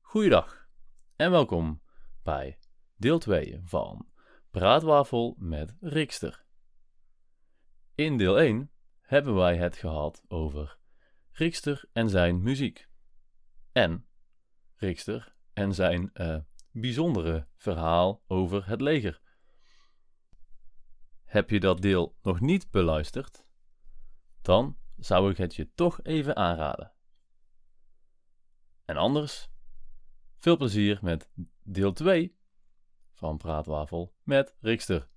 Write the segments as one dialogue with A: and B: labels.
A: Goeiedag en welkom bij deel 2 van Praatwafel met Rikster. In deel 1 hebben wij het gehad over Rikster en zijn muziek. En Rikster en zijn eh, bijzondere verhaal over het leger. Heb je dat deel nog niet beluisterd? Dan zou ik het je toch even aanraden. En anders veel plezier met deel 2 van Praatwafel met Rikster.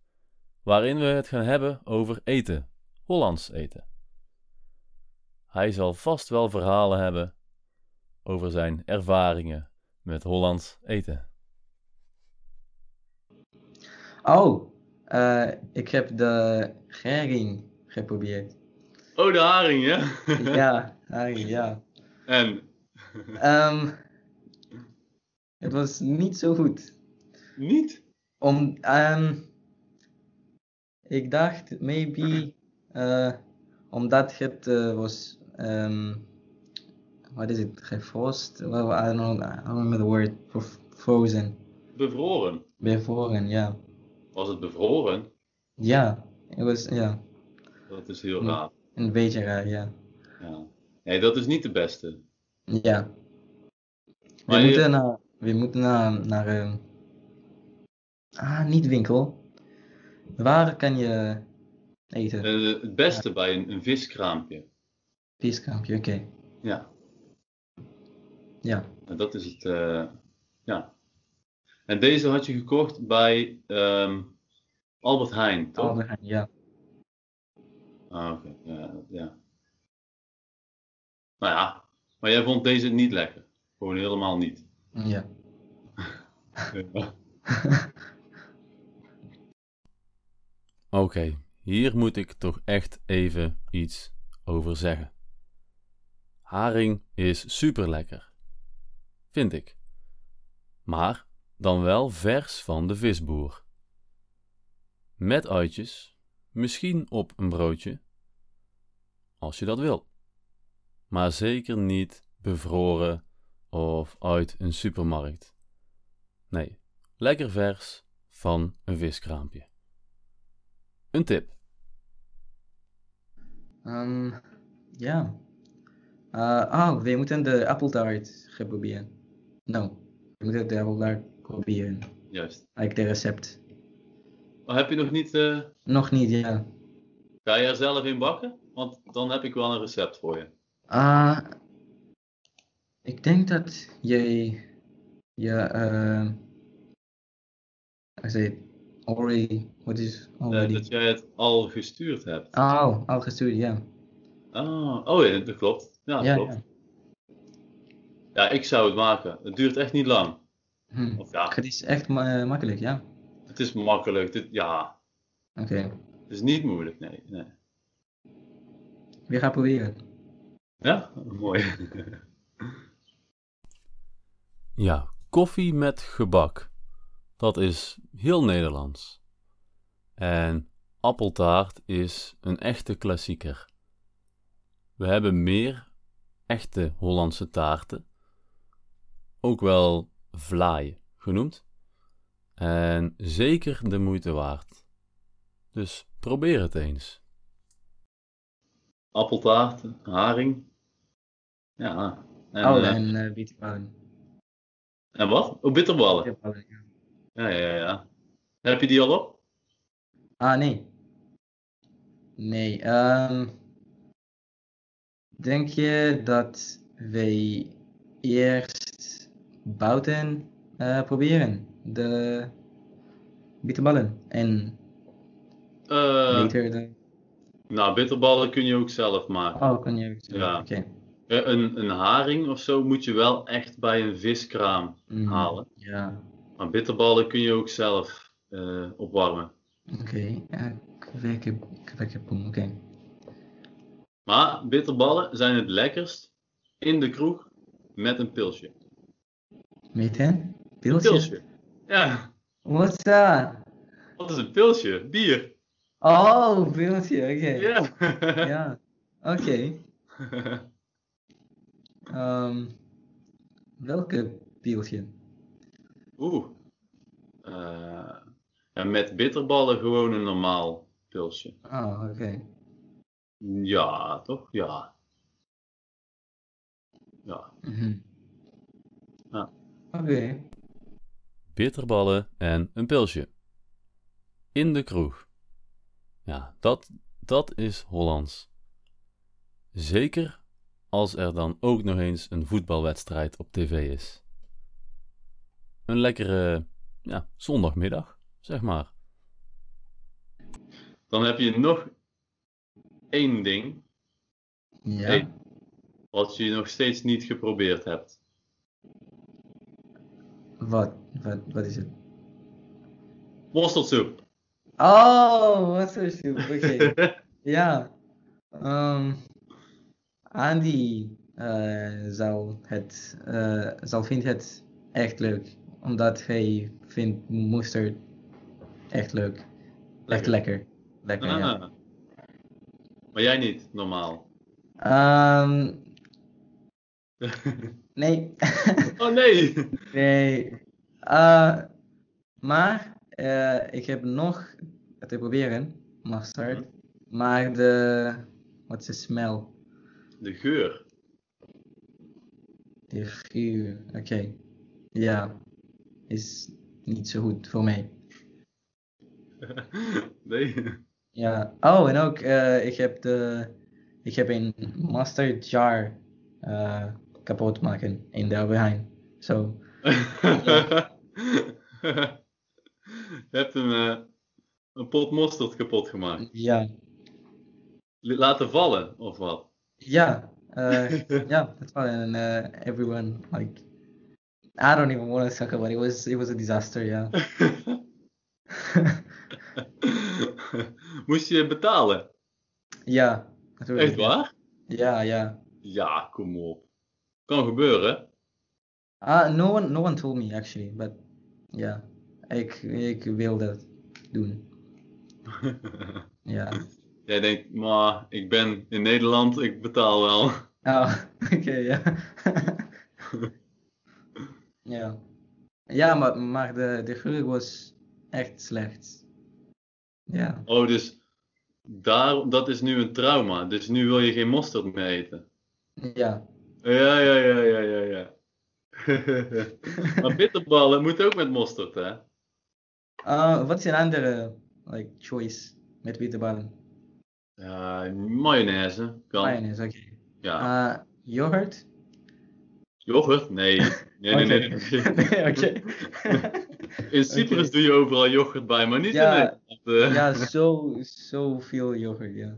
A: Waarin we het gaan hebben over eten. Hollands eten. Hij zal vast wel verhalen hebben over zijn ervaringen met Hollands eten.
B: Oh, eh, ik heb de herring geprobeerd.
A: Oh, de haring, hè?
B: ja, herring, ja.
A: En
B: Ehm, het was niet zo goed.
A: niet?
B: Om, ehm, ik dacht, maybe, eh, omdat het eh, was, ehm, wat is het, gefrost? Well, I don't, know, I don't remember the word, Fro- frozen,
A: Bevroren.
B: bevroren, ja.
A: Was het bevroren?
B: Ja, het was, ja,
A: Dat is heel
B: Ja.
A: raar.
B: een beetje raar, ja.
A: Ja. Nee, dat is niet de beste.
B: Ja. We
A: Maar je-
B: moeten naar, we moeten naar, naar ehm, ah, niet winkel. Waar kan je eten?
A: Eh, het beste bij een, een viskraampje.
B: Viskraampje, oké.
A: Ja.
B: Ja.
A: En dat is het, eh, ja. En deze had je gekocht bij ehm, Albert Heijn, toch?
B: Albert Heijn, ja.
A: Ah, oké. Ja, ja. Nou ja, maar jij vond deze niet lekker. Gewoon helemaal niet.
B: Ja.
A: Oké, hier moet ik toch echt even iets over zeggen. Haring is super lekker. Vind ik. Maar dan wel vers van de visboer. Met uitjes, misschien op een broodje, als je dat wil. Maar zeker niet bevroren of uit een supermarkt. Nee, lekker vers van een viskraampje. Een tip.
B: Ehm, ja. Eh, ah, we moeten de appeltaart gaan proberen. Nou, we moeten de appeltaart proberen.
A: Juist.
B: Like de recept.
A: Maar heb je nog niet. eh,
B: Nog niet, ja.
A: ga je er zelf in bakken? Want dan heb ik wel een recept voor je.
B: Ah, ik denk dat jij je eh ik zei het, already, wat is
A: Eh,
B: already?
A: dat jij het al gestuurd hebt.
B: Oh, al gestuurd, ja.
A: Ah, oh ja, dat klopt. Ja, dat
B: Ja,
A: klopt.
B: ja.
A: Ja, ik zou het maken. Het duurt echt niet lang.
B: Hm.
A: Of ja,
B: Het is echt ma- eh, makkelijk, ja.
A: het is makkelijk. Dit, ja,
B: Oké,
A: het is niet moeilijk. Nee, nee.
B: we gaan proberen.
A: Ja, mooi. Ja, koffie met gebak. Dat is heel Nederlands. En appeltaart is een echte klassieker. We hebben meer echte Hollandse taarten, ook wel vlaai genoemd. En zeker de moeite waard. Dus probeer het eens appeltaart, haring. Ja. En,
B: oh,
A: eh,
B: en uh, bitterballen.
A: en wat? Oh, bitterballen.
B: Bitterballen, ja.
A: Ja, ja, ja. Heb je die al op?
B: Ah, nee. Nee, ehm denk je dat wij eerst buiten eh, proberen? De bitterballen en
A: Eh,
B: later de...
A: nou, bitterballen kun je ook zelf maken.
B: Oh, kan je...
A: Ja.
B: Oké.
A: Eh, Een, een haring of zo moet je wel echt bij een viskraam
B: Mm,
A: halen.
B: Ja,
A: Maar bitterballen kun je ook zelf eh, opwarmen.
B: oké. Eh, kwekken- Kwekkenboom, oké.
A: Maar bitterballen zijn het lekkerst in de kroeg met een pilsje.
B: Meet hè?
A: Een
B: Pilsje?
A: pilsje. Ja.
B: What's that?
A: Wat is een pilsje? Bier.
B: Oh, beeldje, oké.
A: Ja.
B: Ja, oké. Ehm, welke pieltje?
A: Oeh. Eh, ja, met bitterballen gewoon een normaal pilsje.
B: Ah, oké.
A: Ja, toch? Ja. Ja.
B: Mhm.
A: Ja.
B: Oké.
C: bitterballen en een pilsje. In de kroeg. Ja, dat, dat is Hollands. Zeker als er dan ook nog eens een voetbalwedstrijd op tv is. Een lekkere ja, zondagmiddag, zeg maar.
A: Dan heb je nog één ding
B: Ja.
A: Hey. wat je nog steeds niet geprobeerd hebt.
B: Wat, wat, wat is het?
A: Wortelsoep.
B: Oh, wat zo stoer. Oké. Ja. Ehm Andy eh, zou het, eh, zal vindt het echt leuk. Omdat hij vindt mosterd echt leuk. Echt lekker. Lekker, ja.
A: Ah. Maar jij niet, normaal.
B: Ehm, nee.
A: oh nee!
B: nee. Eh, maar eh, ik heb nog te proberen, mosterd. Maar de, wat is de smell?
A: De geur.
B: De geur, oké. Ja, is niet zo goed voor mij.
A: nee.
B: Ja. Oh, en ook, eh, ik heb de, ik heb een mustard jar eh, kapot maken in de Albert Heijn. Zo,
A: Je hebt een, eh, een pot mosterd kapot gemaakt.
B: ja.
A: Laten vallen, of wat?
B: Ja, eh, ja, that's fine. And uh, everyone, like, I don't even want to talk about it. It was, it was a disaster, yeah.
A: Moest je betalen?
B: Ja, natuurlijk.
A: Echt waar?
B: Ja, ja.
A: Ja, kom op. Kan gebeuren.
B: Ah, no one, no one told me actually, but ja, ik, ik wil dat doen. Ja.
A: Jij denkt, maar ik ben in Nederland, ik betaal wel.
B: Oh, oké, ja. Ja. Ja, maar, maar de, de geur was echt slecht. Ja.
A: Oh, dus daar, dat is nu een trauma. Dus nu wil je geen mosterd meer eten.
B: Ja.
A: Ja, ja, ja, ja, ja, ja. maar bitterballen moet ook met mosterd, hè?
B: Ah, wat is een andere uh, like, choice met bitterballen?
A: Ja, mayonaise kan.
B: Mayonaise, oké.
A: Ja.
B: Ah, yoghurt?
A: Yoghurt? Nee. Nee, nee, nee. nee.
B: Oké.
A: In Cyprus
B: Oké.
A: doe je overal yoghurt bij, maar niet
B: Ja.
A: in Nederland. eh.
B: Ja, zo, zo veel yoghurt, ja.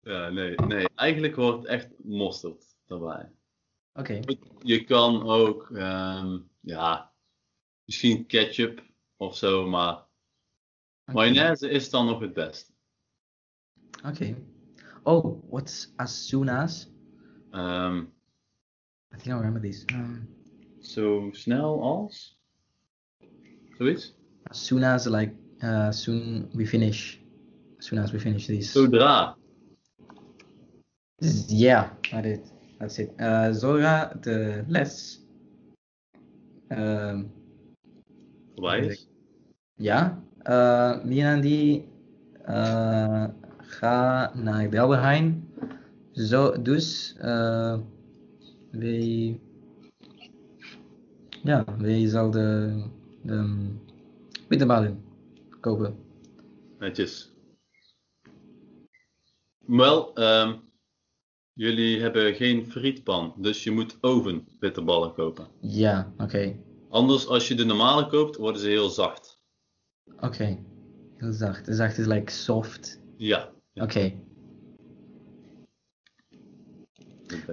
A: Ja, nee, nee. Eigenlijk hoort echt mosterd erbij.
B: Oké.
A: Je kan ook, ehm, ja, misschien ketchup of zo, maar mayonaise is dan nog het beste.
B: Oké. Oh, what's as soon as?
A: Ehm,
B: I think I remember this. Um,
A: zo snel als? Zoiets?
B: as soon as, like, uh, soon we finish. As soon as we finish this.
A: Zodra.
B: This- yeah, that it. That's it. Uh, Zora, the less. Um,
A: Voorbij is.
B: ja. Uh, Mina die uh, ga naar de Albert Heijn. Zo, dus eh wij, ja, wij zal de, de bitterballen kopen.
A: Netjes. Wel, ehm, jullie hebben geen frietpan, dus je moet oven bitterballen kopen.
B: Ja, oké.
A: Anders, als je de normale koopt, worden ze heel zacht.
B: Oké. Heel zacht. Zacht is like soft.
A: Ja.
B: Oké.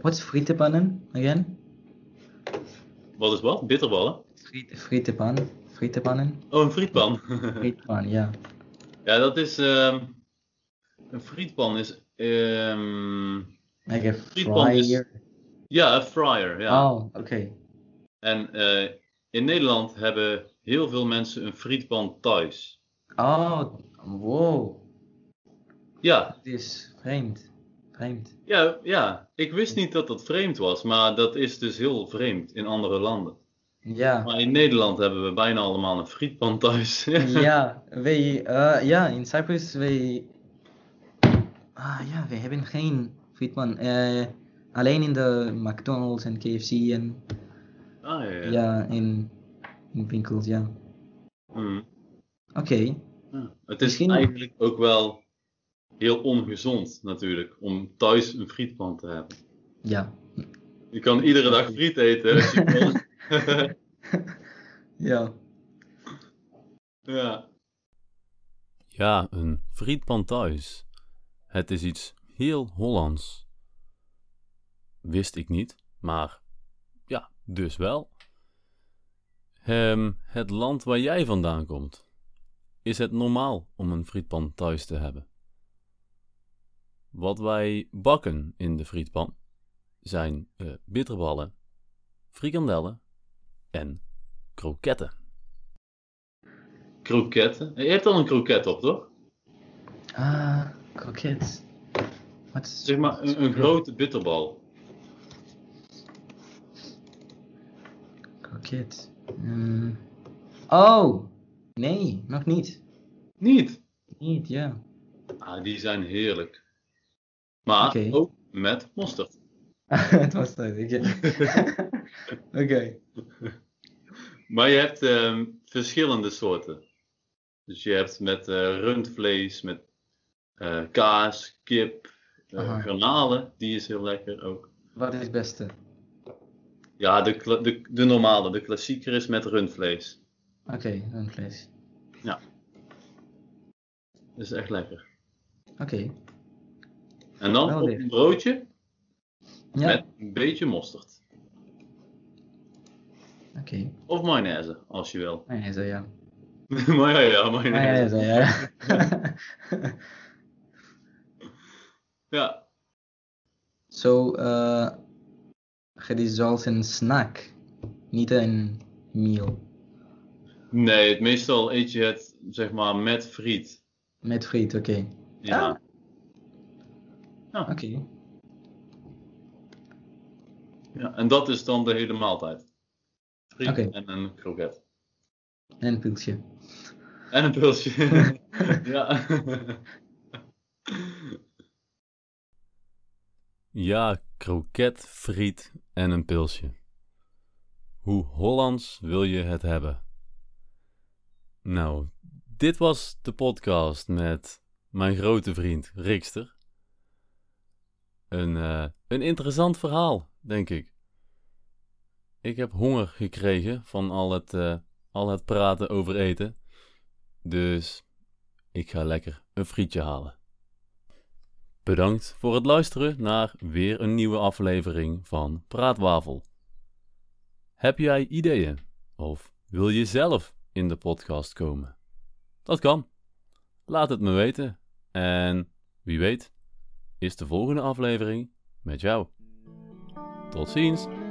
B: What's frietenpannen again?
A: Wat is wat? Bitterballen?
B: Friet, frietenpan, frietenpannen,
A: Oh, een frietpan.
B: frietenpan, ja.
A: ja, dat is... ehm, een frietpan is... ehm,
B: Like a
A: Frietpan is-
B: fryer.
A: ja, een fryer. Ja.
B: Oh, oké.
A: En eh, in Nederland hebben
D: heel veel mensen een frietpan thuis.
B: Oh, wow.
D: Ja,
B: Het is vreemd. Vreemd.
D: ja, ja. Ik wist niet dat dat vreemd was, maar dat is dus heel vreemd in andere landen.
B: Ja.
D: Maar in Nederland hebben we bijna allemaal een frietpan thuis. Ah,
B: Ja, wij, eh, ja, in Cyprus, wij... Ah ja, wij hebben geen frietman. Eh, alleen in de McDonald's en KFC en
D: ah, ja. ja.
B: ja, in, in winkels, ja.
D: Hm.
B: Oké,
D: Ja, Ah, Het is
B: Misschien-
D: eigenlijk ook wel heel ongezond natuurlijk om thuis een frietpan te hebben.
B: ja.
D: Je kan iedere dag friet eten als je wil.
B: Ja.
D: ja.
A: Ja, een frietpan thuis. Het is iets heel Hollands. Wist ik niet, maar ja, dus wel. Ehm, het land waar jij vandaan komt. Is het normaal om een frietpan thuis te hebben? Wat wij bakken in de frietpan zijn eh, bitterballen, frikandellen en kroketten.
D: Kroketten. Je hebt al een kroket op, toch?
B: Ah, kroket. Wat is...
D: Zeg maar een, een grote bitterbal.
B: Kroket. Ehm, Oh! Nee, nog niet.
D: Niet.
B: Niet, ja.
D: Ah, die zijn heerlijk. Maar
B: Oké.
D: ook met mosterd.
B: Het was dat, ik- Oké.
D: Maar je hebt ehm, verschillende soorten. Dus je hebt met eh, rundvlees, met eh, kaas, kip, eh,
B: Aha.
D: garnalen. Die is heel lekker ook.
B: Wat is het beste?
D: Ja, de, kla- de, de normale, de klassieker is met rundvlees.
B: Oké, rundvlees.
D: Dat is echt lekker.
B: Oké.
D: En dan
B: Wel
D: op
B: weer.
D: een broodje
B: Ja,
D: met een beetje mosterd.
B: oké.
D: Of mayonaise, als je wil.
B: Mayonaise, ja.
D: maar ja, ja, mayonaise.
B: Mayonaise, ja.
D: Ja,
B: Zo, eh het is zoals een snack, niet een meal.
D: nee, het, meestal eet je het zeg maar met friet.
B: Met friet, oké.
D: Ja.
B: Ah. Oké.
D: ja. En dat is dan de hele maaltijd. Friet
B: Oké.
D: en een kroket.
B: En een pilsje.
D: En een pulsje. ja.
A: Ja, kroket, friet en een pilsje. Hoe Hollands wil je het hebben? Nou, dit was de podcast met mijn grote vriend Rikster. Een, eh, een interessant verhaal, denk ik. Ik heb honger gekregen van al het, eh, al het praten over eten. Dus ik ga lekker een frietje halen. Bedankt voor het luisteren naar weer een nieuwe aflevering van Praatwafel. Heb jij ideeën of wil je zelf in de podcast komen? Dat kan. Laat het me weten en wie weet is de volgende aflevering met jou. Tot ziens.